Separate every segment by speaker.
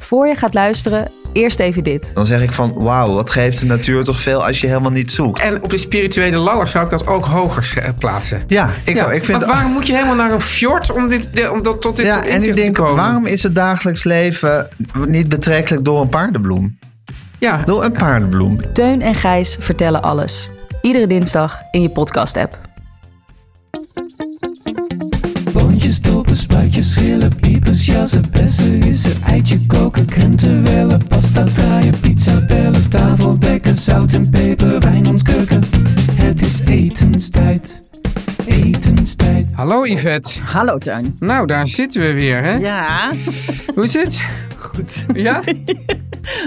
Speaker 1: Voor je gaat luisteren, eerst even dit.
Speaker 2: Dan zeg ik van, wauw, wat geeft de natuur toch veel als je helemaal niet zoekt.
Speaker 3: En op de spirituele ladder zou ik dat ook hoger z- eh, plaatsen.
Speaker 2: Ja, ik,
Speaker 3: Ja,
Speaker 2: ik vind...
Speaker 3: want waarom moet je helemaal naar een fjord om, dit, de- om dat, tot dit
Speaker 2: ja,
Speaker 3: ja,
Speaker 2: en ik
Speaker 3: te
Speaker 2: denk,
Speaker 3: komen?
Speaker 2: waarom is het dagelijks leven niet betrekkelijk door een paardenbloem?
Speaker 3: Ja,
Speaker 2: Door een paardenbloem.
Speaker 1: Teun en Gijs vertellen alles. Iedere dinsdag in je podcast-app.
Speaker 4: Boontjes, dopen, spuitjes, schillen, piepers, jassen, bessen, rissen, eitje koken, krenten wellen, pasta draaien, pizza bellen, tafel dekken, zout en peper, wijn ontkurken. Het is etenstijd, etenstijd.
Speaker 3: hallo Yvette.
Speaker 5: Hallo Tuin.
Speaker 3: Nou, daar zitten we weer, hè?
Speaker 5: Ja,
Speaker 3: Hoe is het?
Speaker 5: goed.
Speaker 3: Ja?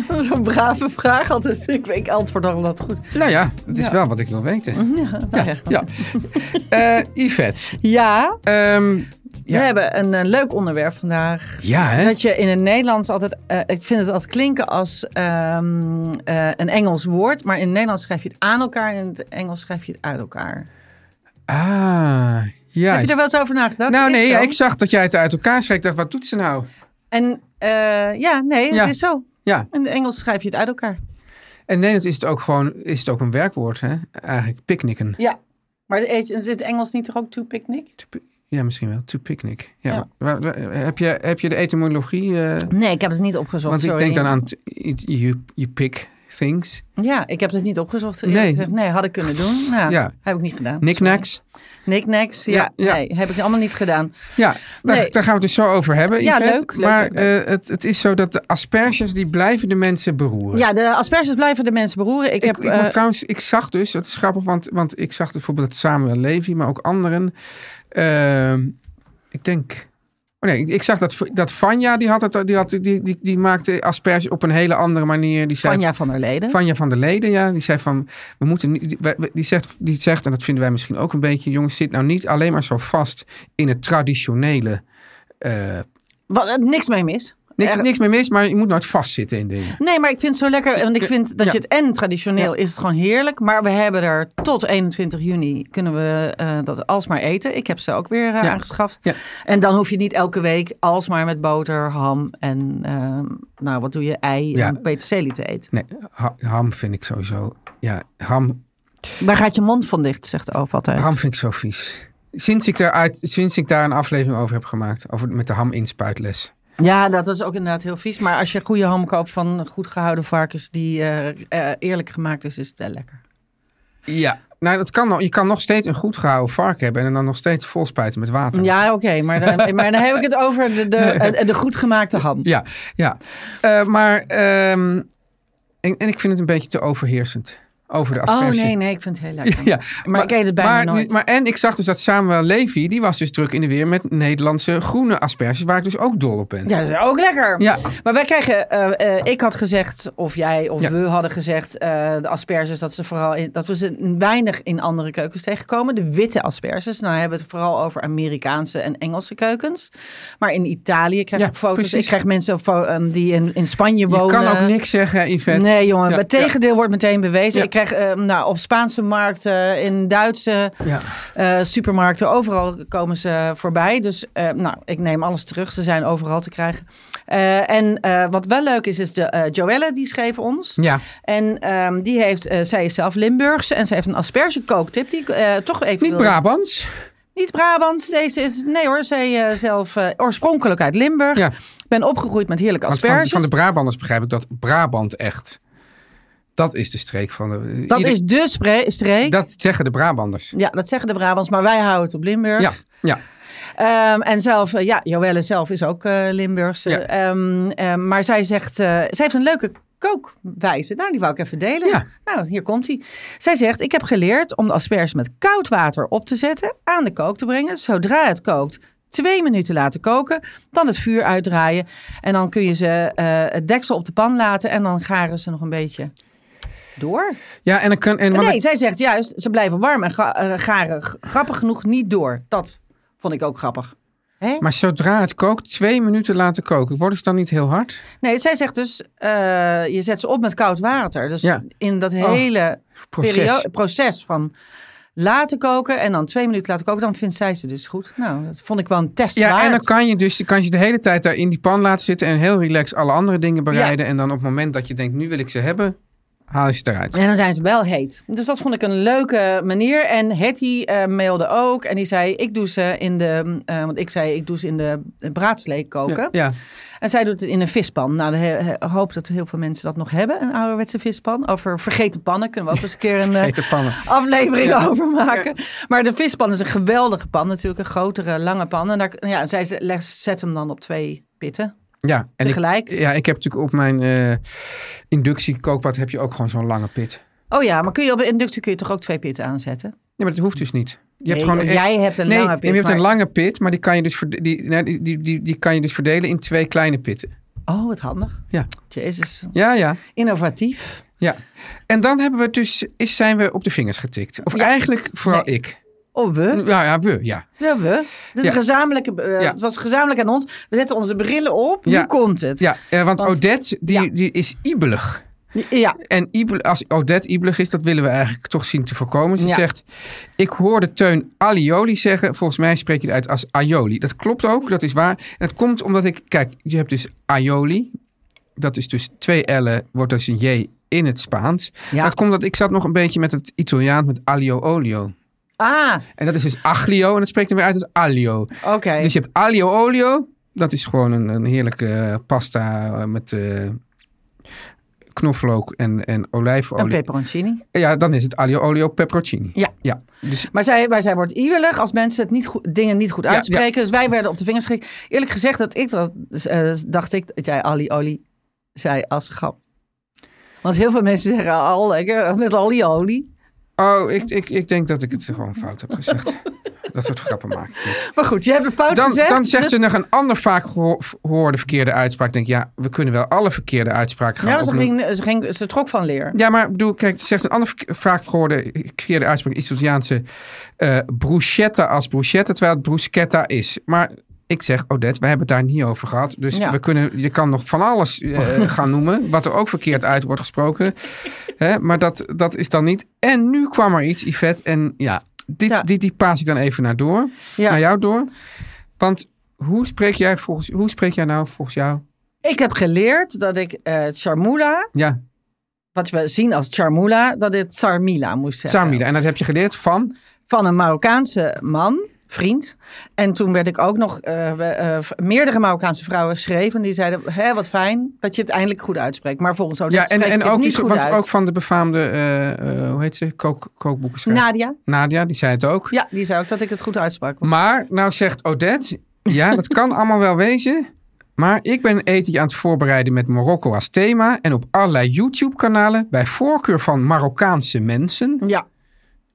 Speaker 5: Dat is een brave vraag altijd. Ik, ik antwoord al dat goed.
Speaker 3: nou ja, dat is wel wat ik wil weten.
Speaker 5: Ja, nou ja.
Speaker 3: Ja. Eh, Yvette.
Speaker 5: Ja,
Speaker 3: ehm,
Speaker 5: we hebben een, eh, leuk onderwerp vandaag.
Speaker 3: ja, hè?
Speaker 5: Dat je in het Nederlands altijd... eh, ik vind het altijd klinken als ehm, eh, een Engels woord. Maar in het Nederlands schrijf je het aan elkaar. En in het Engels schrijf je het uit elkaar.
Speaker 3: Ah, ja.
Speaker 5: Heb je er wel eens over nagedacht?
Speaker 3: Nou
Speaker 5: Het is
Speaker 3: nee, ja,
Speaker 5: zo.
Speaker 3: ik zag dat jij het uit elkaar schreef. Ik dacht, wat doet ze nou?
Speaker 5: En eh, ja, nee, het
Speaker 3: Ja.
Speaker 5: is zo.
Speaker 3: Ja,
Speaker 5: In het Engels schrijf je het uit elkaar.
Speaker 3: en Nederlands is het ook gewoon is het ook een werkwoord, hè? Eigenlijk, picknicken.
Speaker 5: Ja. Maar is is het Engels niet toch ook to picnic?
Speaker 3: To pi- Ja, misschien wel. To picnic. Ja.
Speaker 5: Ja.
Speaker 3: Waar- waar- heb, je, heb je de etymologie? eh,
Speaker 5: Nee, ik heb het niet opgezocht.
Speaker 3: want ik
Speaker 5: sorry.
Speaker 3: denk dan aan t- it- you, you pick things.
Speaker 5: Ja, ik heb het niet opgezocht. eerlijk
Speaker 3: Nee.
Speaker 5: gezegd. nee, had ik kunnen doen. Nou,
Speaker 3: Ja.
Speaker 5: Heb ik niet gedaan.
Speaker 3: Knickknacks.
Speaker 5: Knickknacks, ja,
Speaker 3: Ja, ja.
Speaker 5: Nee, heb ik allemaal niet gedaan.
Speaker 3: Ja, daar,
Speaker 5: Nee.
Speaker 3: daar gaan we het dus zo over hebben.
Speaker 5: Ja,
Speaker 3: Yvette.
Speaker 5: leuk, leuk,
Speaker 3: maar
Speaker 5: leuk, leuk.
Speaker 3: eh, het, het is zo dat de asperges, die blijven de mensen beroeren.
Speaker 5: Ja, de asperges blijven de mensen beroeren. Ik,
Speaker 3: Ik,
Speaker 5: heb,
Speaker 3: ik, moet
Speaker 5: eh,
Speaker 3: trouwens, ik zag dus, dat is grappig, want, want ik zag dus bijvoorbeeld dat Samuel Levy, maar ook anderen. ehm, ik denk. Oh nee, ik, ik zag dat, dat Vanja, die, had het, die, had, die, die, die maakte asperges op een hele andere manier. Die zei,
Speaker 5: Vanja van der Leden.
Speaker 3: Vanja van der Leden, ja. Die zei van, we moeten niet, die, wij- wij- die, zegt, die zegt, en dat vinden wij misschien ook een beetje, jongens, zit nou niet alleen maar zo vast in het traditionele. eh,
Speaker 5: Wat, eh, niks mee mis.
Speaker 3: niks,
Speaker 5: Echt.
Speaker 3: niks meer mis, maar je moet nooit vastzitten in dingen.
Speaker 5: Nee, maar ik vind het zo lekker. Want ik vind dat
Speaker 3: Ja.
Speaker 5: je het en traditioneel is het gewoon heerlijk. Maar we hebben er tot 21 juni kunnen we eh, dat alsmaar eten. Ik heb ze ook weer eh,
Speaker 3: Ja.
Speaker 5: aangeschaft.
Speaker 3: Ja.
Speaker 5: En dan hoef je niet elke week alsmaar met boter, ham en eh, nou wat doe je, ei
Speaker 3: Ja.
Speaker 5: en peterselie te eten.
Speaker 3: Nee, ha- ham vind ik sowieso, ja, ham
Speaker 5: Waar gaat je mond van dicht, zegt Oof altijd.
Speaker 3: Ham vind ik zo vies. Sinds ik, daaruit, sinds ik daar een aflevering over heb gemaakt. Over, met de ham inspuitles.
Speaker 5: Ja, dat is ook inderdaad heel vies. Maar als je goede ham koopt van goed gehouden varkens die eh, eh, eerlijk gemaakt is, is het wel lekker.
Speaker 3: Ja. Nou, dat kan, nog- je kan nog steeds een goed gehouden varken hebben. En dan nog steeds volspuiten met water.
Speaker 5: Ja, oké. maar, dan, maar dan heb ik het over de, de, eh, de goed gemaakte ham.
Speaker 3: Ja. ja. Eh, maar. ehm, en, en ik vind het een beetje te overheersend. Over de
Speaker 5: Oh
Speaker 3: asperge.
Speaker 5: nee, nee, ik vind het heel lekker.
Speaker 3: Ja,
Speaker 5: Maar ik eet het bijna
Speaker 3: maar, nu-
Speaker 5: nooit.
Speaker 3: Maar, en ik zag dus dat Samuel Levy, die was dus druk in de weer met Nederlandse groene asperges, waar ik dus ook dol op ben.
Speaker 5: Ja, dat is ook lekker.
Speaker 3: Ja.
Speaker 5: Maar wij krijgen, eh, eh, ik had gezegd, of jij of
Speaker 3: Ja.
Speaker 5: we hadden gezegd, eh, de asperges, dat, ze vooral in, dat we ze weinig in andere keukens tegenkomen. De witte asperges, nou hebben we het vooral over Amerikaanse en Engelse keukens. Maar in Italië krijg
Speaker 3: Ja,
Speaker 5: ik foto's.
Speaker 3: precies.
Speaker 5: Ik krijg mensen op fo- ehm, die in, in Spanje
Speaker 3: je
Speaker 5: wonen.
Speaker 3: kan ook niks zeggen, Yvette.
Speaker 5: Nee, jongen.
Speaker 3: Ja,
Speaker 5: het tegendeel wordt meteen bewezen.
Speaker 3: Ja.
Speaker 5: Ik krijg ehm, nou, op Spaanse markten, in Duitse
Speaker 3: Ja.
Speaker 5: eh, supermarkten, overal komen ze voorbij. Dus eh, nou, ik neem alles terug. Ze zijn overal te krijgen. Eh, en eh, wat wel leuk is, is de eh Joelle, die schreef ons.
Speaker 3: Ja.
Speaker 5: En ehm, die heeft, eh, zij is zelf Limburgse en zij heeft een aspergekooktip die ik eh, toch even
Speaker 3: Niet
Speaker 5: wilde-
Speaker 3: Brabants.
Speaker 5: Niet Brabants, deze is, nee hoor, zij eh, zelf eh, oorspronkelijk uit Limburg.
Speaker 3: Ja.
Speaker 5: Ben opgegroeid met heerlijke
Speaker 3: Want van,
Speaker 5: asperges.
Speaker 3: van de Brabanders begrijp ik dat Brabant echt. Dat is de streek van de.
Speaker 5: dat
Speaker 3: ieder-
Speaker 5: is de spre- streek.
Speaker 3: dat zeggen de Brabanders.
Speaker 5: Ja, dat zeggen de Brabants, maar wij houden het op Limburg.
Speaker 3: Ja, ja.
Speaker 5: Ehm, en zelf, eh, ja, Joelle zelf is ook eh Limburgse.
Speaker 3: Ja.
Speaker 5: Ehm, ehm, maar zij zegt, eh zij heeft een leuke kookwijze. Nou, die wou ik even delen.
Speaker 3: Ja.
Speaker 5: Nou, hier komt hij. Zij zegt, ik heb geleerd om de asperges met koud water op te zetten, aan de kook te brengen. Zodra het kookt, twee minuten laten koken, dan het vuur uitdraaien. En dan kun je ze eh, het deksel op de pan laten en dan garen ze nog een beetje door.
Speaker 3: Ja, en dan kan. En, maar
Speaker 5: nee,
Speaker 3: dat-
Speaker 5: zij zegt juist, ze blijven warm en ga- eh, garen. G- Grappig genoeg niet door. Dat vond ik ook grappig. Hè?
Speaker 3: maar zodra het kookt, twee minuten laten koken. Worden ze dan niet heel hard?
Speaker 5: Nee, zij zegt dus, eh, je zet ze op met koud water. Dus
Speaker 3: Ja.
Speaker 5: in dat
Speaker 3: Oh,
Speaker 5: hele
Speaker 3: proces.
Speaker 5: perio- proces van laten koken en dan twee minuten laten koken, dan vindt zij ze dus goed. Nou, dat vond ik wel een test
Speaker 3: Ja,
Speaker 5: waard.
Speaker 3: en dan kan je dus kan je de hele tijd daar in die pan laten zitten en heel relaxed alle andere dingen bereiden. En dan op het moment dat je denkt, nu wil ik ze hebben, haal je ze eruit.
Speaker 5: En dan zijn ze wel heet. Dus dat vond ik een leuke manier. En Hetty eh, mailde ook. En die zei, ik doe ze in de... eh, want ik zei, ik doe ze in de braadslee koken.
Speaker 3: Ja, ja.
Speaker 5: En zij doet het in een vispan. Nou, ik hoop dat heel veel mensen dat nog hebben, een ouderwetse vispan. Over vergeten pannen kunnen we ook eens een keer een eh,
Speaker 3: Vergeten pannen.
Speaker 5: aflevering over maken. Maar de vispan is een geweldige pan natuurlijk. Een grotere, lange pan. En daar, ja, zij ze- leg- zet hem dan op twee pitten.
Speaker 3: ja. En
Speaker 5: Tegelijk.
Speaker 3: Ik, ja, ik heb natuurlijk op mijn eh inductiekookpad heb je ook gewoon zo'n lange pit.
Speaker 5: Oh ja, maar kun je op de inductie kun je toch ook twee pitten aanzetten?
Speaker 3: Ja, maar dat hoeft dus niet. Je hebt
Speaker 5: Nee,
Speaker 3: gewoon
Speaker 5: joh, jij hebt een
Speaker 3: nee,
Speaker 5: lange
Speaker 3: nee,
Speaker 5: pit,
Speaker 3: Je hebt een
Speaker 5: maar-
Speaker 3: lange pit, maar die kan je dus, verde- die, nee, die, die, die, die kan je dus verdelen in twee kleine pitten.
Speaker 5: Oh, wat handig.
Speaker 3: Ja,
Speaker 5: Jezus,
Speaker 3: ja, ja.
Speaker 5: innovatief.
Speaker 3: ja. En dan hebben we dus, is, zijn we op de vingers getikt. Of eigenlijk vooral ik.
Speaker 5: Oh, we?
Speaker 3: Nou ja, we, ja.
Speaker 5: Ja, we. Het, is
Speaker 3: Ja.
Speaker 5: een gezamenlijke, eh,
Speaker 3: Ja.
Speaker 5: het was gezamenlijk aan ons. We zetten onze brillen op.
Speaker 3: Ja.
Speaker 5: Nu komt het.
Speaker 3: ja eh, want,
Speaker 5: Want-
Speaker 3: Odette, die,
Speaker 5: ja.
Speaker 3: die is ibelig.
Speaker 5: ja.
Speaker 3: En Ibel- als Odette Ibelig is, dat willen we eigenlijk toch zien te voorkomen. Ze
Speaker 5: Ja.
Speaker 3: zegt, ik hoorde Teun Alioli zeggen. Volgens mij spreek je het uit als Aioli. Dat klopt ook, dat is waar. En dat komt omdat ik... Kijk, je hebt dus Aioli. Dat is dus twee L'en, wordt dus een J in het Spaans.
Speaker 5: Ja.
Speaker 3: Dat komt omdat ik zat nog een beetje met het Italiaans, met alio olio.
Speaker 5: Ah,
Speaker 3: En dat is dus aglio en dat spreekt er weer uit als alio.
Speaker 5: oké.
Speaker 3: Dus je hebt aglio olio. Dat is gewoon een, een heerlijke eh, pasta eh, met eh, knoflook en, en
Speaker 5: Een
Speaker 3: olijfolie.
Speaker 5: peperoncini.
Speaker 3: ja, dan is het aglio olio pepperoni.
Speaker 5: Ja.
Speaker 3: Ja, dus,
Speaker 5: Maar zij, maar zij wordt iwelig als mensen het niet goed, dingen niet goed
Speaker 3: Ja,
Speaker 5: uitspreken. Dus wij werden op de vingers gek. Eerlijk gezegd, dat ik dat, dus, eh, dacht ik dat jij Ali Oli zei als grap. Want heel veel mensen zeggen al lekker eh, met Ali Oli.
Speaker 3: oh, ik, ik, ik denk dat ik het gewoon fout heb gezegd. Dat soort grappen maak ik niet.
Speaker 5: Maar goed, je hebt het fout
Speaker 3: Dan,
Speaker 5: gezegd.
Speaker 3: dan zegt
Speaker 5: dus-
Speaker 3: ze nog een ander vaak geho- gehoorde verkeerde uitspraak. Ik denk, ja, we kunnen wel alle verkeerde uitspraken gaan
Speaker 5: Ja, maar ze,
Speaker 3: opnoemen.
Speaker 5: ging, ze, ging, ze trok van leer.
Speaker 3: nou- Ja, maar ik bedoel, kijk, het zegt een andere verk- vaak gehoorde verkeerde uitspraak, Italiaanse eh bruschetta als bruschetta, terwijl het bruschetta is. Maar ik zeg, Odette, we hebben het daar niet over gehad. Dus
Speaker 5: Ja.
Speaker 3: we kunnen, je kan nog van alles eh, gaan noemen, wat er ook verkeerd uit wordt gesproken. Hè, maar dat, dat is dan niet. En nu kwam er iets, Yvette, en ja, dit,
Speaker 5: Ja.
Speaker 3: Dit, die paas ik dan even naar door,
Speaker 5: Ja.
Speaker 3: naar jou door. Want hoe spreek jij volgens, hoe spreek jij nou volgens jou?
Speaker 5: Ik heb geleerd dat ik eh Charmula,
Speaker 3: Ja,
Speaker 5: wat we zien als Charmula, dat dit Sarmila moest zeggen.
Speaker 3: Samira. En dat heb je geleerd van?
Speaker 5: van een Marokkaanse man, vriend. En toen werd ik ook nog eh, we- eh, v- meerdere Marokkaanse vrouwen geschreven. Die zeiden, Hé, wat fijn dat je het eindelijk goed uitspreekt. Maar volgens jou
Speaker 3: Ja, en, en ook,
Speaker 5: niet
Speaker 3: die-
Speaker 5: goed
Speaker 3: want
Speaker 5: uit.
Speaker 3: ook van de befaamde, eh, eh, hoe heet ze, kook, kookboekenschrijver.
Speaker 5: Nadia,
Speaker 3: Nadia, die zei het ook.
Speaker 5: ja, die zei ook dat ik het goed uitsprak.
Speaker 3: Maar, nou zegt Odette, ja, dat kan allemaal wel wezen. Maar ik ben een etentje aan het voorbereiden met Marokko als thema. En op allerlei YouTube-kanalen, bij voorkeur van Marokkaanse mensen.
Speaker 5: Ja,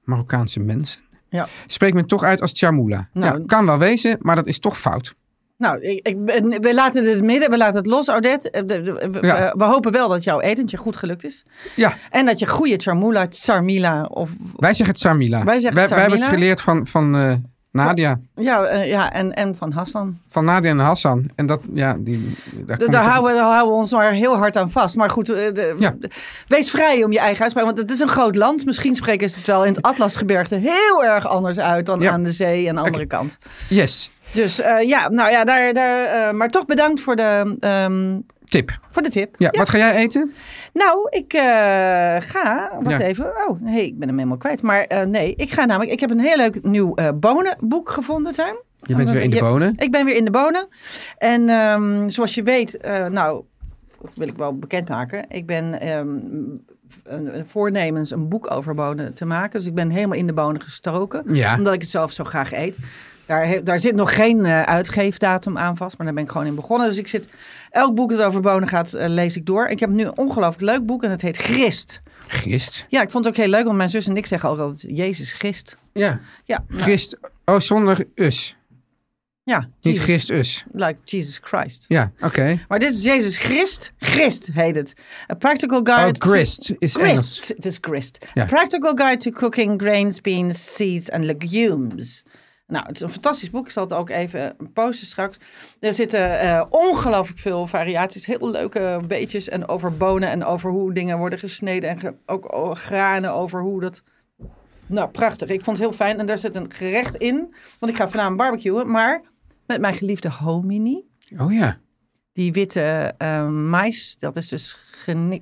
Speaker 3: Marokkaanse mensen.
Speaker 5: ja.
Speaker 3: Spreekt men toch uit als Charmoula.
Speaker 5: Nou,
Speaker 3: ja, kan wel wezen, maar dat is toch fout.
Speaker 5: Nou, ik, ik, ben- we laten het midden, we laten het los, Odette. Eh, de- de- We,
Speaker 3: Ja.
Speaker 5: we- we hopen wel dat jouw etentje goed gelukt is.
Speaker 3: Ja,
Speaker 5: En dat je goede Charmula, Sarmila of...
Speaker 3: wij zeggen het Samila.
Speaker 5: Wij zeggen het
Speaker 3: wij hebben het
Speaker 5: Samila.
Speaker 3: geleerd van, van eh, Nadia.
Speaker 5: Ja, eh, ja en, en van Hassan.
Speaker 3: Van Nadia en Hassan. En dat, ja, die, daar,
Speaker 5: Daar,
Speaker 3: kom
Speaker 5: daar
Speaker 3: ik toch-
Speaker 5: houden, we- daar houden we ons maar heel hard aan vast. Maar goed, eh, de-
Speaker 3: Ja.
Speaker 5: de- wees vrij om je eigen uitspraak. Want het is een groot land. Misschien spreken ze het wel in het Atlasgebergte heel erg anders uit dan
Speaker 3: Ja.
Speaker 5: aan de zee en de andere kant.
Speaker 3: Yes,
Speaker 5: Dus eh, ja, nou ja, daar, daar, eh, maar toch bedankt voor de, ehm,
Speaker 3: tip.
Speaker 5: voor de tip.
Speaker 3: Ja, wat ga jij eten?
Speaker 5: Nou, ik eh, ga. Wacht
Speaker 3: Ja.
Speaker 5: even. Oh, hey, ik ben hem helemaal kwijt. Maar eh, nee, ik ga namelijk. Ik heb een heel leuk nieuw eh, bonenboek gevonden, Tuin.
Speaker 3: Je bent weer in de
Speaker 5: Je-
Speaker 3: bonen.
Speaker 5: Ik ben weer in de bonen. En ehm, zoals je weet, eh, nou, dat wil ik wel bekendmaken. Ik ben ehm, een, een voornemens een boek over bonen te maken. Dus ik ben helemaal in de bonen gestoken.
Speaker 3: Ja.
Speaker 5: Omdat ik het zelf zo graag eet. Daar, he- daar zit nog geen eh, uitgeefdatum aan vast, maar daar ben ik gewoon in begonnen. Dus ik zit, elk boek dat over bonen gaat, eh, lees ik door. Ik heb nu een ongelooflijk leuk boek en het heet Christ.
Speaker 3: Gist.
Speaker 5: Ja, ik vond het ook heel leuk, want mijn zus en ik zeggen ook altijd Jezus Christ.
Speaker 3: Ja.
Speaker 5: Ja, nou,
Speaker 3: Gist. Oh, zonder us.
Speaker 5: ja
Speaker 3: Niet
Speaker 5: Jesus,
Speaker 3: gist-us.
Speaker 5: like Jesus Christ.
Speaker 3: Ja, oké.
Speaker 5: Maar dit is Jezus Christ. Christ heet het. A practical guide.
Speaker 3: Oh, Christ
Speaker 5: to-
Speaker 3: is Engels.
Speaker 5: Christ. Het is Christ.
Speaker 3: Ja.
Speaker 5: A practical guide to cooking grains, beans, seeds and legumes. Nou, het is een fantastisch boek. Ik zal het ook even posten straks. Er zitten eh, ongelooflijk veel variaties. Heel leuke beetjes en over bonen en over hoe dingen worden gesneden. En ge- ook o- granen over hoe dat... Nou, prachtig. Ik vond het heel fijn. En daar zit een gerecht in. Want ik ga vanavond barbecuen. Maar met mijn geliefde hominy
Speaker 3: Oh ja.
Speaker 5: die witte eh, mais, dat is dus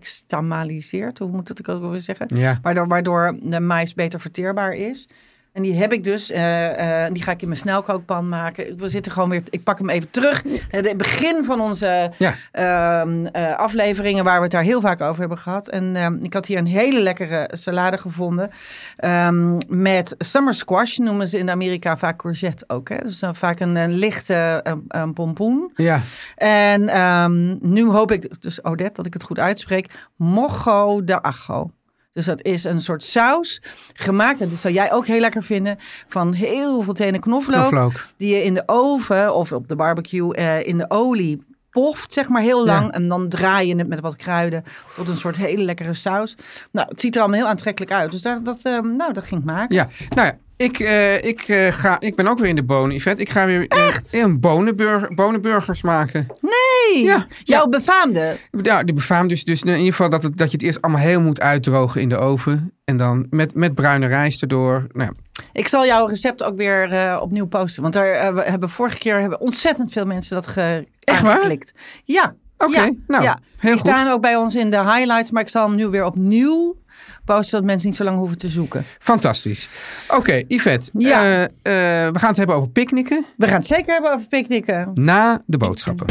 Speaker 5: genikstamaliseerd, hoe moet dat ik ook weer zeggen?
Speaker 3: Ja.
Speaker 5: Waardoor, waardoor de mais beter verteerbaar is. En die heb ik dus, eh, eh, die ga ik in mijn snelkookpan maken. We zitten gewoon weer, ik pak hem even terug. Het begin van onze
Speaker 3: Ja.
Speaker 5: ehm, eh, afleveringen waar we het daar heel vaak over hebben gehad. En ehm, ik had hier een hele lekkere salade gevonden. ehm, met summer squash noemen ze in Amerika vaak courgette ook. Hè? Dus dan vaak een, een lichte eh, een pompoen.
Speaker 3: Ja.
Speaker 5: En ehm, nu hoop ik, dus Odette, dat ik het goed uitspreek. Mojo de ajo. Dus dat is een soort saus gemaakt, en dat zou jij ook heel lekker vinden, van heel veel tenen knoflook.
Speaker 3: Knoflook.
Speaker 5: Die je in de oven of op de barbecue eh, in de olie poft, zeg maar, heel lang.
Speaker 3: Ja.
Speaker 5: En dan draai je het met wat kruiden tot een soort hele lekkere saus. Nou, het ziet er allemaal heel aantrekkelijk uit. Dus daar, dat, ehm, nou, dat ging ik maken.
Speaker 3: Ja, nou ja. Ik, eh, ik, eh, ga, ik ben ook weer in de bonen, Yvette. Ik ga weer eh, een bonenburger, bonenburgers maken.
Speaker 5: Hey,
Speaker 3: Ja.
Speaker 5: jouw
Speaker 3: Ja.
Speaker 5: befaamde.
Speaker 3: Ja, de befaam dus, dus in ieder geval dat, het, dat je het eerst allemaal heel moet uitdrogen in de oven. En dan met, met bruine rijst erdoor. Nou, ja.
Speaker 5: Ik zal jouw recept ook weer eh, opnieuw posten. Want daar eh, we hebben vorige keer hebben ontzettend veel mensen dat ge
Speaker 3: Echt waar?
Speaker 5: aangeklikt. Ja.
Speaker 3: Oké,
Speaker 5: ja,
Speaker 3: nou,
Speaker 5: ja.
Speaker 3: heel
Speaker 5: Die
Speaker 3: goed.
Speaker 5: staan ook bij ons in de highlights. Maar ik zal hem nu weer opnieuw posten. Zodat mensen niet zo lang hoeven te zoeken.
Speaker 3: fantastisch. Oké, Yvette.
Speaker 5: Ja.
Speaker 3: eh, eh, we gaan het hebben over picknicken
Speaker 5: We gaan het zeker hebben over picknicken.
Speaker 3: na de boodschappen.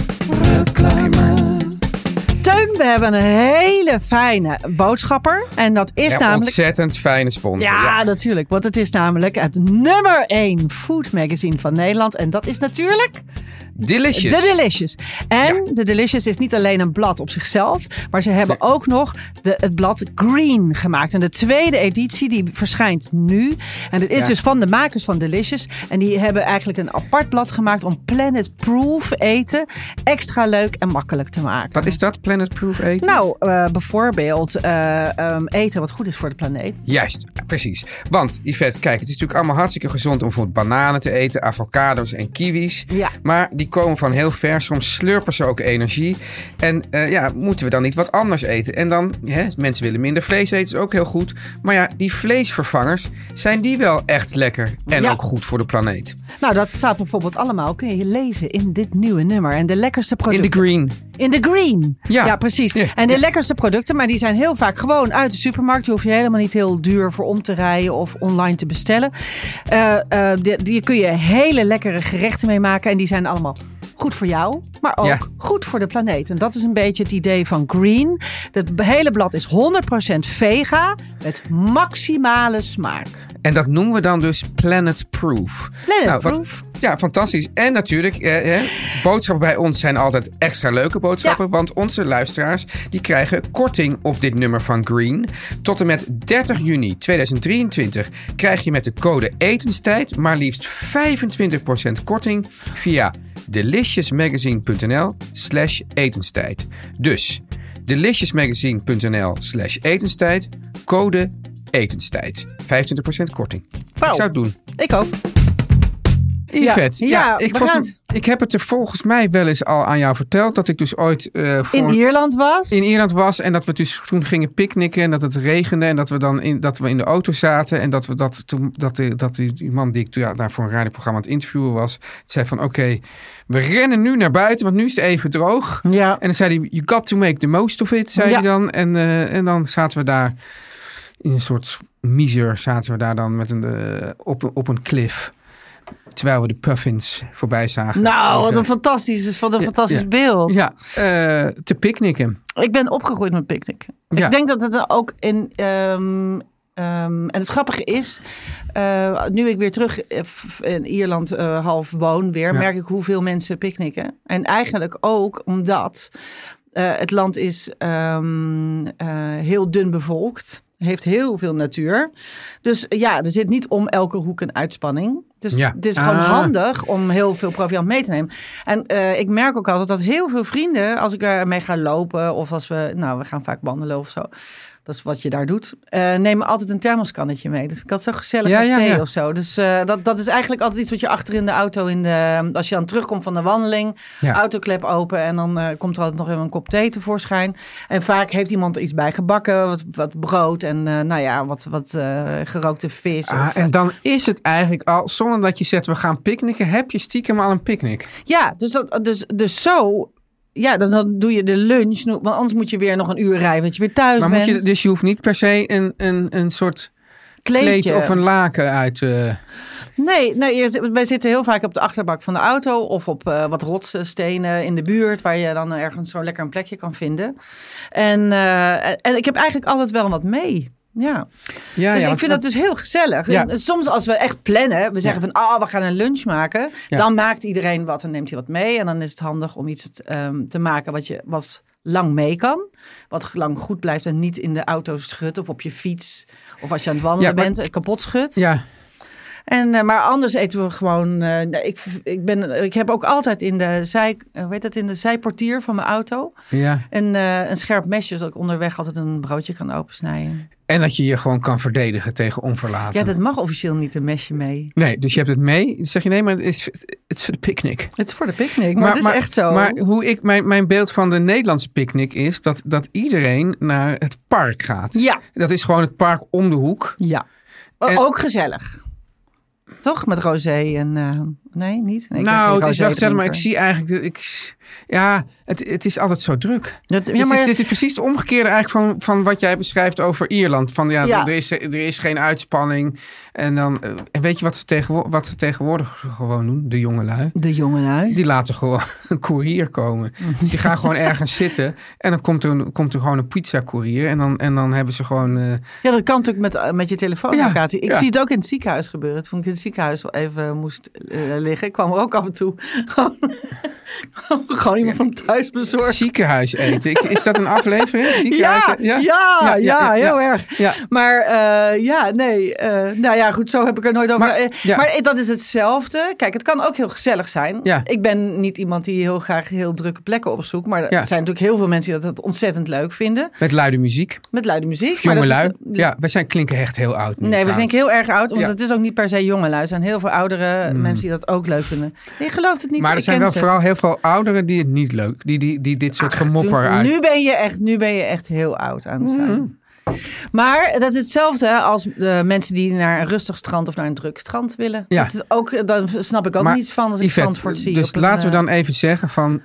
Speaker 5: Teun, we hebben een hele fijne boodschapper. En dat is
Speaker 3: Een
Speaker 5: namelijk...
Speaker 3: ontzettend fijne sponsor.
Speaker 5: Ja, natuurlijk. Want het is namelijk het nummer 1 food magazine van Nederland. En dat is natuurlijk...
Speaker 3: Delicious.
Speaker 5: De Delicious. En de Delicious is niet alleen een blad op zichzelf, maar ze hebben ook nog de, het blad Green gemaakt. En de tweede editie die verschijnt nu. En het is dus van de makers van Delicious. En die hebben eigenlijk een apart blad gemaakt om planet-proof eten extra leuk en makkelijk te maken.
Speaker 3: Wat is dat, Planet Proof eten?
Speaker 5: Nou, eh, bijvoorbeeld eh, ehm, eten wat goed is voor de planeet.
Speaker 3: Juist, precies. Want Yvette, kijk, het is natuurlijk allemaal hartstikke gezond om bijvoorbeeld bananen te eten, avocado's en kiwis.
Speaker 5: Ja.
Speaker 3: Maar die komen van heel ver, soms slurpen ze ook energie. En eh, ja, moeten we dan niet wat anders eten? En dan, hè, mensen willen minder vlees eten, is ook heel goed. Maar ja, die vleesvervangers, zijn die wel echt lekker en
Speaker 5: Ja.
Speaker 3: ook goed voor de planeet?
Speaker 5: Nou, dat staat bijvoorbeeld allemaal, kun je lezen in dit nieuwe nummer. En de lekkerste
Speaker 3: In
Speaker 5: producten.
Speaker 3: de green.
Speaker 5: In de green.
Speaker 3: Ja.
Speaker 5: precies.
Speaker 3: Ja,
Speaker 5: En de
Speaker 3: ja.
Speaker 5: lekkerste producten, maar die zijn heel vaak gewoon uit de supermarkt. Die hoef je helemaal niet heel duur voor om te rijden of online te bestellen. Eh eh, die, die kun je hele lekkere gerechten mee maken. En die zijn allemaal goed voor jou, maar ook
Speaker 3: Ja.
Speaker 5: goed voor de planeet. En dat is een beetje het idee van green. Het hele blad is 100% vega met maximale smaak.
Speaker 3: En dat noemen we dan dus Planet Proof.
Speaker 5: Planet
Speaker 3: wat-
Speaker 5: Proof.
Speaker 3: ja, fantastisch. En natuurlijk, eh, hè, boodschappen bij ons zijn altijd extra leuke boodschappen.
Speaker 5: Ja.
Speaker 3: Want onze luisteraars die krijgen korting op dit nummer van Green. Tot en met 30 juni 2023 krijg je met de code etenstijd maar liefst 25% korting via deliciousmagazine.nl slash etenstijd. Dus deliciousmagazine.nl slash etenstijd, code etenstijd. 25% korting.
Speaker 5: Wauw.
Speaker 3: Ik zou het doen.
Speaker 5: Ik ook.
Speaker 3: Yvette,
Speaker 5: Ja,
Speaker 3: ja,
Speaker 5: ja,
Speaker 3: ik,
Speaker 5: we
Speaker 3: volgens-
Speaker 5: gaan het-
Speaker 3: ik heb het er volgens mij wel eens al aan jou verteld. Dat ik dus ooit eh, voor-
Speaker 5: In Ierland was.
Speaker 3: in Ierland was. En dat we dus toen gingen picknicken. En dat het regende. En dat we dan in, dat we in de auto zaten. En dat, we dat, toen, dat, die, dat die, die man die ik toen ja, daar voor een radioprogramma aan het interviewen was. zei van oké, we rennen nu naar buiten. Want nu is het even droog.
Speaker 5: Ja.
Speaker 3: En dan zei hij, you got to make the most of it, zei
Speaker 5: Ja.
Speaker 3: hij dan. En, eh, en dan zaten we daar in een soort miser, zaten we daar dan met een, eh, op, op een cliff. Terwijl we de puffins voorbij zagen.
Speaker 5: Nou, wat
Speaker 3: Vliegen.
Speaker 5: een fantastisch, wat een
Speaker 3: Ja,
Speaker 5: fantastisch
Speaker 3: ja.
Speaker 5: beeld.
Speaker 3: Ja, eh, te picknicken.
Speaker 5: Ik ben opgegroeid met picknicken.
Speaker 3: Ja.
Speaker 5: Ik denk dat het ook in ehm, Ehm, en het grappige is, eh, nu ik weer terug eh, f- in Ierland eh, half woon weer, merk ik hoeveel mensen picknicken. En eigenlijk ook omdat eh, het land is ehm, eh, heel dun bevolkt, heeft heel veel natuur. Dus eh, ja, er zit niet om elke hoek een uitspanning. Dus
Speaker 3: Ja.
Speaker 5: het is gewoon
Speaker 3: Ah.
Speaker 5: handig om heel veel proviant mee te nemen. En eh, ik merk ook altijd dat heel veel vrienden, als ik ermee ga lopen of als we, nou, we gaan vaak wandelen of zo. Dat is wat je daar doet. eh, nemen altijd een thermoskannetje mee. Dus ik had zo gezellig
Speaker 3: Ja,
Speaker 5: met
Speaker 3: ja,
Speaker 5: thee
Speaker 3: ja.
Speaker 5: of zo. Dus eh, dat, dat is eigenlijk altijd iets wat je achter in de auto, in de, als je dan terugkomt van de wandeling,
Speaker 3: Ja.
Speaker 5: autoklep open en dan eh, komt er altijd nog even een kop thee tevoorschijn. En vaak heeft iemand er iets bij gebakken, wat, wat brood en eh, nou ja, wat, wat eh, gerookte vis.
Speaker 3: Ah,
Speaker 5: of, eh,
Speaker 3: en dan is het eigenlijk al, zonder dat je zegt we gaan picknicken, heb je stiekem al een picknick.
Speaker 5: Ja, dus, dat, dus, dus zo. Ja, dus dan doe je de lunch. Want anders moet je weer nog een uur rijden, want je weer thuis
Speaker 3: Maar moet
Speaker 5: bent.
Speaker 3: je, dus je hoeft niet per se een, een, een soort kleed of een laken uit. eh,
Speaker 5: Nee, nee je- wij zitten heel vaak op de achterbak van de auto of op eh, wat rotsen, stenen in de buurt, waar je dan ergens zo lekker een plekje kan vinden. En, eh, en ik heb eigenlijk altijd wel wat mee. Ja.
Speaker 3: ja,
Speaker 5: dus
Speaker 3: ja,
Speaker 5: ik vind dat
Speaker 3: want-
Speaker 5: dus heel gezellig.
Speaker 3: Ja.
Speaker 5: En soms als we echt plannen, we zeggen van, ah, we gaan een lunch maken.
Speaker 3: Ja.
Speaker 5: Dan maakt iedereen wat en neemt hij wat mee. En dan is het handig om iets ehm, te maken wat je wat lang mee kan. Wat lang goed blijft en niet in de auto schudt of op je fiets. Of als je aan het wandelen
Speaker 3: Ja, maar-
Speaker 5: bent, eh, kapot schudt.
Speaker 3: ja,
Speaker 5: En, eh, maar anders eten we gewoon. eh, nee, ik, ik, ben, ik heb ook altijd in de, zij, eh, hoe heet dat, in de zijportier van mijn auto
Speaker 3: ja.
Speaker 5: een, eh, een scherp mesje, zodat ik onderweg altijd een broodje kan opensnijden.
Speaker 3: En dat je je gewoon kan verdedigen tegen
Speaker 5: Ja,
Speaker 3: onverlaten.
Speaker 5: dat mag officieel niet, een mesje mee.
Speaker 3: Nee, dus je hebt het mee. Dan zeg je nee, maar het is, het is voor de picknick.
Speaker 5: Het is voor de picknick, maar, het is echt zo.
Speaker 3: Maar hoe ik, mijn, mijn beeld van de Nederlandse picknick is dat, dat iedereen naar het park gaat.
Speaker 5: Ja.
Speaker 3: Dat is gewoon het park om de hoek.
Speaker 5: ja. O-
Speaker 3: En-
Speaker 5: Ook gezellig. Toch? Met rosé en... eh, nee, niet? Nee, ik ben geen
Speaker 3: nou, het is wel
Speaker 5: rosé-drinker.
Speaker 3: gezellig, maar ik zie eigenlijk... Ik, ja, het, het is altijd zo druk.
Speaker 5: Dat-
Speaker 3: Dit
Speaker 5: ja,
Speaker 3: is-
Speaker 5: maar,
Speaker 3: dit is precies het omgekeerde eigenlijk van, van wat jij beschrijft over Ierland. Van ja,
Speaker 5: Ja.
Speaker 3: Er, is, er is geen uitspanning. En dan, eh, en weet je wat ze, tegenwo- wat ze tegenwoordig gewoon doen? De jongelui.
Speaker 5: De jongelui.
Speaker 3: Die laten gewoon een koerier komen. Dus die gaan gewoon ergens zitten. En dan komt er, een- komt er gewoon een pizza-koerier. En dan, en dan hebben ze gewoon... eh,
Speaker 5: Ja, dat kan natuurlijk met, eh, met je telefoonapplicatie.
Speaker 3: Ja,
Speaker 5: ik
Speaker 3: ja.
Speaker 5: zie het ook in het ziekenhuis gebeuren. Toen ik in het ziekenhuis wel even moest eh, liggen, kwam er ook af en toe gewoon, gewoon iemand van thuis bezorgd.
Speaker 3: ziekenhuis eten. Ik, is dat een aflevering? Ziekenhuis
Speaker 5: Ja,
Speaker 3: eten?
Speaker 5: ja, ja, heel erg.
Speaker 3: Ja.
Speaker 5: Maar eh, ja, nee. eh, nou ja, goed, zo heb ik er nooit over.
Speaker 3: Maar,
Speaker 5: eh,
Speaker 3: ja.
Speaker 5: maar eh, dat is hetzelfde. Kijk, het kan ook heel gezellig zijn.
Speaker 3: Ja.
Speaker 5: Ik ben niet iemand die heel graag heel drukke plekken opzoekt. Maar er
Speaker 3: Ja.
Speaker 5: zijn natuurlijk heel veel mensen die dat, dat ontzettend leuk vinden.
Speaker 3: Met luide muziek.
Speaker 5: Met luide muziek. maar dat is-
Speaker 3: Jongelui. Ja, wij zijn klinken echt heel oud. nu
Speaker 5: Nee, we
Speaker 3: trouwens.
Speaker 5: klinken heel erg oud, want
Speaker 3: Ja. Mm.
Speaker 5: het is ook niet per se jongelui. Er zijn heel veel oudere mensen die dat ook leuk vinden. Je gelooft het niet,
Speaker 3: Maar er
Speaker 5: ik
Speaker 3: zijn
Speaker 5: ken
Speaker 3: wel
Speaker 5: ze.
Speaker 3: vooral heel veel ouderen die het niet leuk... Die, die, die dit soort
Speaker 5: Toen-
Speaker 3: gemopper uit... Mhm.
Speaker 5: nu ben je echt, Nu ben je echt heel oud aan het zijn. Maar dat is hetzelfde als de mensen die naar een rustig strand of naar een druk strand willen.
Speaker 3: Ja.
Speaker 5: Dat is ook, daar snap ik ook
Speaker 3: Maar,
Speaker 5: niets van als ik
Speaker 3: Yvette,
Speaker 5: Zandvoort zie.
Speaker 3: Dus
Speaker 5: op een,
Speaker 3: laten we
Speaker 5: eh,
Speaker 3: dan even zeggen van...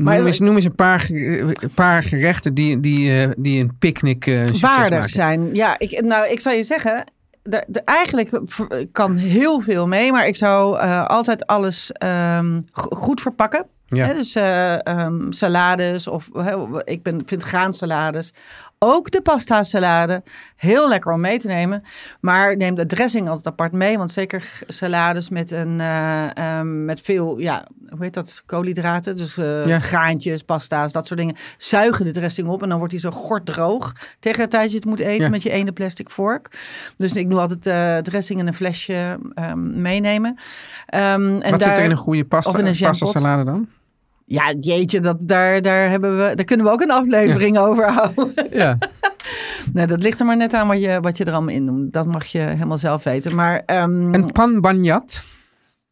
Speaker 5: Maar-
Speaker 3: noem, eens, noem eens een paar, ge- een paar gerechten die, die, eh, die een picknick eh succes
Speaker 5: waardig
Speaker 3: maken.
Speaker 5: zijn. Ja, ik, nou, ik zou je zeggen, de, de, eigenlijk v- kan heel veel mee, maar ik zou eh, altijd alles ehm, go- goed verpakken.
Speaker 3: Ja.
Speaker 5: Hè, dus eh, ehm, salades of hè, ik ben, vind graansalades. Ook de pasta salade. Heel lekker om mee te nemen. Maar neem de dressing altijd apart mee. Want zeker g- salades met, een, eh, ehm, met veel, ja, hoe heet dat? Koolhydraten. Dus eh,
Speaker 3: Ja.
Speaker 5: graantjes, pasta's, dat soort dingen. Zuigen de dressing op. En dan wordt die zo gorddroog. Tegen het tijd je het moet eten
Speaker 3: Ja.
Speaker 5: met je ene plastic vork. Dus ik doe altijd eh, dressing in een flesje ehm, meenemen. Ehm, en
Speaker 3: Wat
Speaker 5: daar,
Speaker 3: zit er in een goede pasta,
Speaker 5: of in een
Speaker 3: pasta
Speaker 5: jampot.
Speaker 3: salade dan?
Speaker 5: Ja, jeetje, dat, daar, daar, hebben we, daar kunnen we ook een aflevering over houden.
Speaker 3: Ja.
Speaker 5: nee, dat ligt er maar net aan wat je, wat je er allemaal in doet. Dat mag je helemaal zelf weten. Maar ehm,
Speaker 3: Een pan bagnat.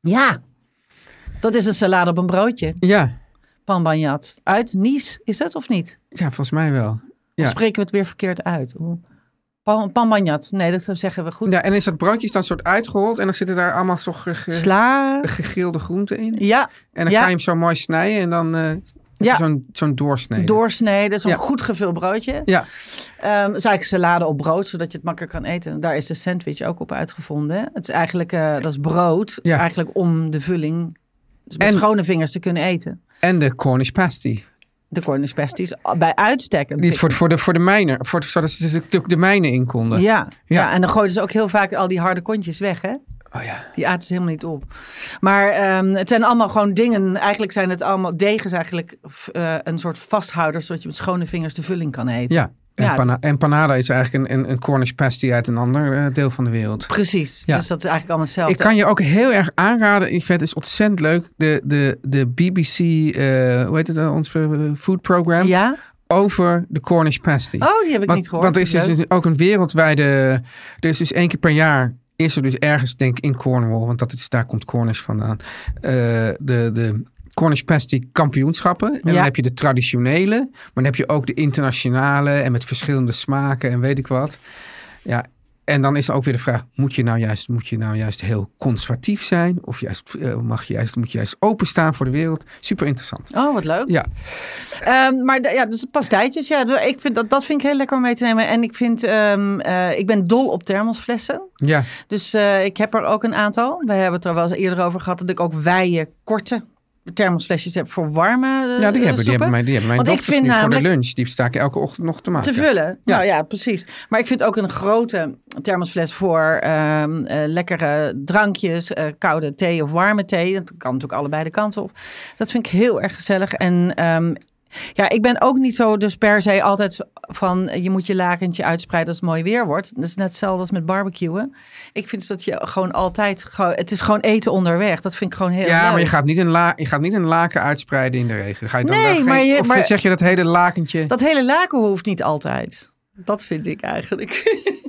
Speaker 6: Ja,
Speaker 5: dat is een salade op een broodje.
Speaker 3: Ja.
Speaker 5: Panbagnat. Uit Nice, is dat of niet?
Speaker 3: ja, volgens mij wel.
Speaker 5: Of
Speaker 3: Ja.
Speaker 5: spreken we het weer verkeerd uit? Oeh. Pan, panbagnat. Nee, dat zeggen we goed.
Speaker 3: Ja, en is dat broodje dan soort uitgehold en dan zitten daar allemaal zo ge- ge-
Speaker 5: Sla.
Speaker 3: gegrilde groenten in.
Speaker 5: Ja,
Speaker 3: En dan
Speaker 5: Ja.
Speaker 3: kan je hem zo mooi snijden en dan eh, heb je
Speaker 5: Ja.
Speaker 3: zo'n zo'n doorsnede.
Speaker 5: doorsneden. Zo'n
Speaker 3: Ja.
Speaker 5: goed gevuld broodje.
Speaker 3: Ja,
Speaker 5: Ehm is eigenlijk salade op brood, zodat je het makkelijk kan eten. Daar is de sandwich ook op uitgevonden. Het is eigenlijk, eh, dat is brood,
Speaker 3: Ja.
Speaker 5: eigenlijk om de vulling dus met
Speaker 3: En-
Speaker 5: schone vingers te kunnen eten.
Speaker 3: en de Cornish pasty.
Speaker 5: de cornispest is bij uitstek een
Speaker 3: Die is voor, de- voor, de, voor de mijnen. Voor, de- zodat ze natuurlijk de mijnen in konden.
Speaker 5: pik. ja, ja.
Speaker 3: Ja.
Speaker 5: en dan gooiden ze ook heel vaak al die harde kontjes weg, hè?
Speaker 3: Oh ja.
Speaker 5: Die aten ze helemaal niet op. Maar ehm, het zijn allemaal gewoon dingen. Eigenlijk zijn het allemaal degens eigenlijk f- eh, een soort vasthouders... zodat je met schone vingers de vulling kan eten.
Speaker 3: Ja. En,
Speaker 5: Ja,
Speaker 3: pana- en panada is eigenlijk een, een, een Cornish pasty uit een ander eh, deel van de wereld.
Speaker 5: Precies.
Speaker 3: Ja.
Speaker 5: Dus dat is eigenlijk allemaal hetzelfde.
Speaker 3: Ik kan je ook heel erg aanraden. Ik vind het is ontzettend leuk. De, de, de BBC, eh, hoe heet het, eh, ons eh, food program.
Speaker 5: Ja?
Speaker 3: Over de Cornish pasty.
Speaker 5: Oh, die heb ik
Speaker 3: want,
Speaker 5: niet gehoord.
Speaker 3: Want er is
Speaker 5: Leuk.
Speaker 3: dus ook een wereldwijde... Er is dus één keer per jaar... Is er dus ergens, denk ik, in Cornwall... want dat is, daar komt Cornish vandaan... eh, de, de Cornish pasty kampioenschappen. En
Speaker 5: Ja.
Speaker 3: dan heb je de traditionele... maar dan heb je ook de internationale... en met verschillende smaken en weet ik wat. Ja, en dan is er ook weer de vraag... moet je nou juist, moet je nou juist heel conservatief zijn? Of juist, eh, mag je juist, moet je juist openstaan voor de wereld? Super interessant.
Speaker 5: Oh, wat leuk.
Speaker 3: Ja,
Speaker 5: Ehm, maar de- ja, dus pastijtjes, ja, ik vind dat, dat vind ik heel lekker om mee te nemen. En ik, vind, ehm, eh, ik ben dol op thermosflessen.
Speaker 3: ja,
Speaker 5: Dus eh, ik heb er ook een aantal. We hebben het er wel eens eerder over gehad dat ik ook wijde, korte thermosflesjes heb voor warme eh,
Speaker 3: ja die, hebben, die,
Speaker 5: soepen.
Speaker 3: hebben mijn, die hebben mijn
Speaker 5: Want ik
Speaker 3: dochters
Speaker 5: vind
Speaker 3: nu voor de
Speaker 5: namelijk-
Speaker 3: lunch. Die sta ik elke ochtend nog te maken.
Speaker 5: Te vullen.
Speaker 3: Ja.
Speaker 5: Nou ja, precies. Maar ik vind ook een grote thermosfles voor ehm, eh, lekkere drankjes, eh, koude thee of warme thee. Dat kan natuurlijk allebei de kant op. Dat vind ik heel erg gezellig. En ehm, ja, ik ben ook niet zo dus per se altijd van eh, je moet je lakentje uitspreiden als het mooi weer wordt. Dat is net hetzelfde als met barbecuen. Ik vind dat je gewoon altijd, gewoon- het is gewoon eten onderweg. Dat vind ik gewoon heel
Speaker 3: Ja,
Speaker 5: leuk.
Speaker 3: maar je gaat, niet een la, je gaat niet een laken uitspreiden in de regen. Dan Ga je dan
Speaker 5: Nee,
Speaker 3: daar geen-
Speaker 5: maar je-
Speaker 3: of
Speaker 5: maar-
Speaker 3: zeg je dat hele lakentje...
Speaker 5: Dat hele laken hoeft niet altijd. Dat vind ik eigenlijk.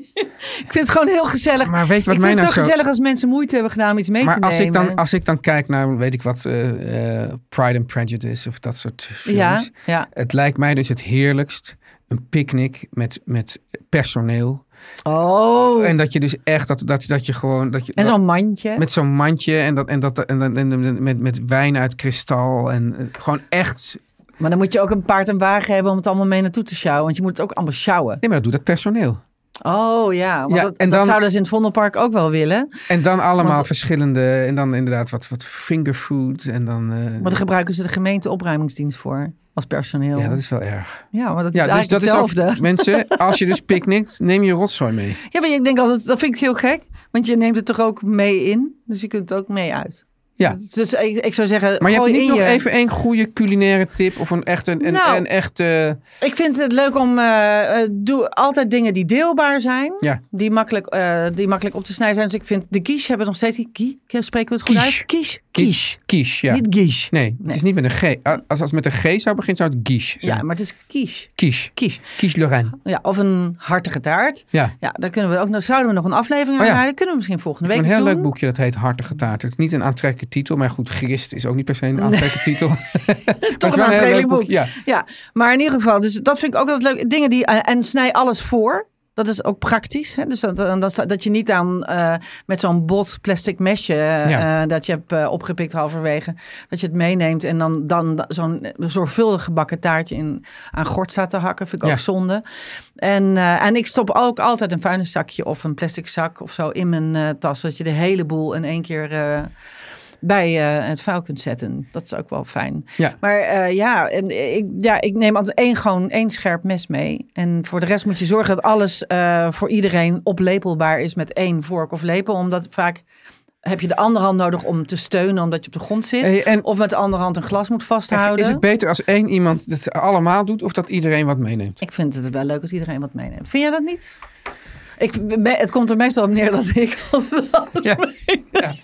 Speaker 5: ik vind het gewoon heel gezellig.
Speaker 3: Maar weet je wat
Speaker 5: ik
Speaker 3: mij
Speaker 5: vind het
Speaker 3: nou
Speaker 5: zo,
Speaker 3: zo-
Speaker 5: gezellig als mensen moeite hebben gedaan om iets mee
Speaker 3: maar
Speaker 5: te
Speaker 3: als ik,
Speaker 5: nemen.
Speaker 3: dan, als ik dan kijk naar, weet ik wat, eh, eh, Pride and Prejudice of dat soort films.
Speaker 5: Ja, ja.
Speaker 3: Het lijkt mij dus het heerlijkst een picknick met, met personeel.
Speaker 5: Oh, en,
Speaker 3: En dat je dus echt, dat, dat, dat je gewoon... Dat je,
Speaker 5: zo'n mandje.
Speaker 3: Met zo'n mandje en, dat, en, dat, en, en, en- en- met, met wijn uit kristal. En eh, gewoon echt...
Speaker 5: Maar dan moet je ook een paard en wagen hebben om het allemaal mee naartoe te sjouwen. Want je moet het ook allemaal sjouwen.
Speaker 3: Nee, maar dat doet dat personeel.
Speaker 5: Oh ja, want
Speaker 3: Ja,
Speaker 5: dat,
Speaker 3: en
Speaker 5: dat
Speaker 3: dan-
Speaker 5: zouden ze in het Vondelpark ook wel willen.
Speaker 3: En dan allemaal
Speaker 5: Want-
Speaker 3: verschillende... En dan inderdaad wat, wat fingerfood en dan... eh,
Speaker 5: Want daar gebruiken ze de gemeente opruimingsdienst voor. Als personeel.
Speaker 3: Ja, dat is wel erg.
Speaker 5: Ja, maar dat is
Speaker 3: Ja, dus
Speaker 5: eigenlijk
Speaker 3: dat
Speaker 5: hetzelfde.
Speaker 3: is ook, mensen, als je dus picknickt, neem je rotzooi mee.
Speaker 5: Ja, maar ik denk altijd, dat vind ik heel gek. Want je neemt het toch ook mee in. Dus je kunt het ook mee uit.
Speaker 3: Ja.
Speaker 5: Dus ik, ik zou zeggen,
Speaker 3: Maar je hebt
Speaker 5: gooi
Speaker 3: niet
Speaker 5: in
Speaker 3: nog
Speaker 5: je.
Speaker 3: even één goede culinaire tip of een echt een, een,
Speaker 5: Nou.
Speaker 3: een echt eh,
Speaker 5: Ik vind het leuk om eh, eh, doe altijd dingen die deelbaar zijn.
Speaker 3: ja,
Speaker 5: Die makkelijk, eh, die makkelijk op te snijden zijn. Dus ik vind de quiche hebben we nog steeds die quiche. Spreken we het goed
Speaker 3: Quiche.
Speaker 5: uit? Quiche.
Speaker 3: quiche. Quiche, ja.
Speaker 5: Niet quiche.
Speaker 3: Nee, het is niet met een G. Als, als het met een G zou beginnen, zou het quiche zijn.
Speaker 5: Ja, maar het is quiche.
Speaker 3: Quiche.
Speaker 5: Quiche.
Speaker 3: Quiche Lorraine.
Speaker 5: Ja, of een hartige taart.
Speaker 3: Ja.
Speaker 5: Ja, daar kunnen we ook, dan zouden we nog een aflevering aan
Speaker 3: Oh ja.
Speaker 5: rijden. Kunnen we misschien volgende week
Speaker 3: Een
Speaker 5: eens
Speaker 3: heel
Speaker 5: doen.
Speaker 3: leuk boekje, dat heet Hartige Taart. Het is niet een aantrekkelijke titel, maar goed, Christ is ook niet per se een aantrekkelijke titel.
Speaker 5: Toch een
Speaker 3: wel een heel
Speaker 5: aantrekkelijk
Speaker 3: leuk
Speaker 5: boek.
Speaker 3: boek, ja.
Speaker 5: maar in ieder geval, dus dat vind ik ook altijd leuk. Dingen die, eh, en snij alles voor. Dat is ook praktisch. Hè? Dus dat, dan- dan sta- dat je niet aan eh, met zo'n bot plastic mesje eh,
Speaker 3: Ja.
Speaker 5: eh, dat je hebt eh, opgepikt halverwege. Dat je het meeneemt en dan, dan zo'n zorgvuldig gebakken taartje in, aan gort staat te hakken. Vind ik
Speaker 3: Ja.
Speaker 5: ook zonde. En, eh, en ik stop ook altijd een vuilniszakje of een plastic zak of zo in mijn eh, tas. Zodat je de hele boel in één keer eh, bij eh, het vuil kunt zetten. Dat is ook wel fijn.
Speaker 3: Ja.
Speaker 5: Maar eh, ja, en ik, ja, ik neem altijd één, gewoon één scherp mes mee. En voor de rest moet je zorgen dat alles eh, voor iedereen oplepelbaar is met één vork of lepel. Omdat vaak heb je de andere hand nodig om te steunen omdat je op de grond zit.
Speaker 3: Hey, Eh, en-
Speaker 5: of met de andere hand een glas moet vasthouden.
Speaker 3: Is het beter als één iemand het allemaal doet of dat iedereen wat meeneemt?
Speaker 5: Ik vind het wel leuk als iedereen wat meeneemt. Vind jij dat niet? Ik, me- het komt er meestal op neer dat ik altijd alles
Speaker 3: Ja.
Speaker 5: meeneem.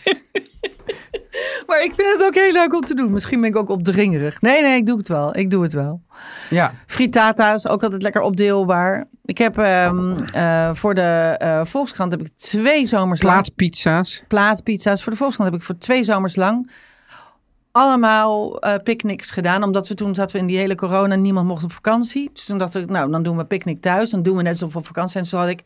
Speaker 5: Maar ik vind het ook heel leuk om te doen. Misschien ben ik ook opdringerig. Nee, nee, ik doe het wel. Ik doe het wel.
Speaker 3: Ja,
Speaker 5: Frittata is ook altijd lekker opdeelbaar. Ik heb ehm, eh, voor de eh, Volkskrant heb ik twee zomers lang...
Speaker 3: plaatpizza's.
Speaker 5: Plaatpizza's. Voor de Volkskrant heb ik voor twee zomers lang allemaal eh picknicks gedaan. Omdat we toen zaten we in die hele corona, niemand mocht op vakantie. Dus toen dacht ik, nou, dan doen we picknick thuis. Dan doen we net alsof we op vakantie zijn. Dus toen had ik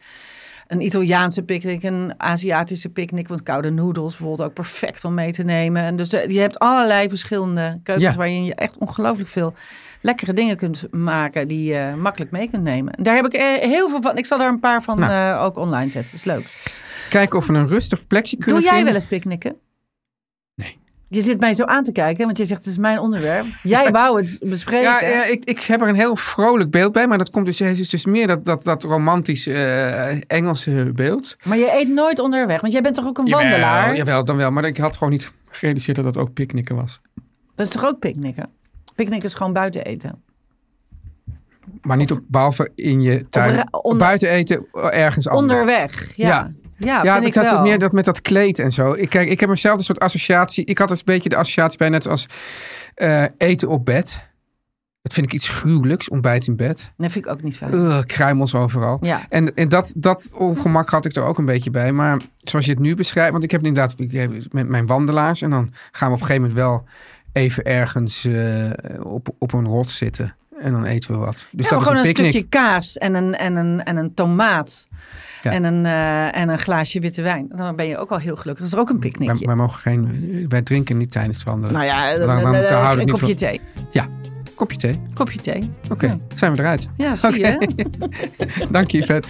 Speaker 5: een Italiaanse picknick, een Aziatische picknick. Want koude noedels bijvoorbeeld ook perfect om mee te nemen. En dus eh, je hebt allerlei verschillende keukens
Speaker 3: Ja.
Speaker 5: waarin je echt ongelooflijk veel lekkere dingen kunt maken die je makkelijk mee kunt nemen. En Daar heb ik eh, heel veel van. Ik zal daar een paar van
Speaker 3: Nou.
Speaker 5: eh, ook online zetten. Is leuk.
Speaker 3: Kijken of we een rustig plekje kunnen
Speaker 5: Doe jij
Speaker 3: vinden.
Speaker 5: wel eens picknicken?
Speaker 3: Nee.
Speaker 5: Je zit mij zo aan te kijken, want je zegt het is mijn onderwerp. Jij wou het bespreken.
Speaker 3: Ja, ja, ik, ik heb er een heel vrolijk beeld bij, maar dat komt dus, het is dus meer dat, dat, dat romantische eh, Engelse beeld.
Speaker 5: Maar je eet nooit onderweg, want jij bent toch ook een wandelaar?
Speaker 3: Jawel, jawel, dan wel, maar ik had gewoon niet gerealiseerd dat dat ook picknicken was.
Speaker 5: Dat is toch ook picknicken? Picknicken is gewoon buiten eten.
Speaker 3: Maar niet op, behalve in je tuin.
Speaker 5: ra- onder-
Speaker 3: buiten eten, eh, ergens anders.
Speaker 5: Onderweg, ja.
Speaker 3: Ja.
Speaker 5: Ja,
Speaker 3: ja,
Speaker 5: vind
Speaker 3: dat
Speaker 5: ik
Speaker 3: had
Speaker 5: wel.
Speaker 3: het meer dat met dat kleed en zo. Ik, kijk, ik heb eenzelfde soort associatie. Ik had dus een beetje de associatie bij net als eh, eten op bed. Dat vind ik iets gruwelijks, ontbijt in bed.
Speaker 5: Nee, vind ik ook niet fijn.
Speaker 3: Ugh, kruimels overal.
Speaker 5: Ja.
Speaker 3: En, en dat, dat ongemak had ik er ook een beetje bij. Maar zoals je het nu beschrijft, want ik heb het inderdaad ik heb het met mijn wandelaars. En dan gaan we op een gegeven moment wel even ergens eh, op, op een rots zitten. En dan eten we wat. Dus
Speaker 5: ja,
Speaker 3: dat
Speaker 5: maar
Speaker 3: is
Speaker 5: gewoon
Speaker 3: een
Speaker 5: een,
Speaker 3: picknick.
Speaker 5: stukje kaas en een, en een, en een tomaat.
Speaker 3: Ja.
Speaker 5: En, een, eh, en een glaasje witte wijn. Dan ben je ook al heel gelukkig. Dat is ook een
Speaker 3: Wij,
Speaker 5: picknickje.
Speaker 3: wij mogen geen, wij drinken niet tijdens het wandelen.
Speaker 5: nou ja, eh,
Speaker 3: waarom-
Speaker 5: eh,
Speaker 3: daar houden we niet
Speaker 5: een kopje
Speaker 3: van.
Speaker 5: thee.
Speaker 3: Kopje thee.
Speaker 5: Kopje thee.
Speaker 3: Oké, zijn we eruit.
Speaker 5: Ja, zie je.
Speaker 3: Dank je, Yvette.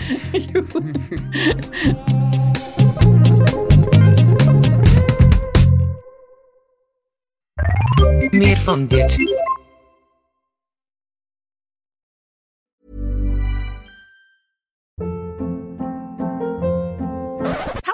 Speaker 7: Meer van dit.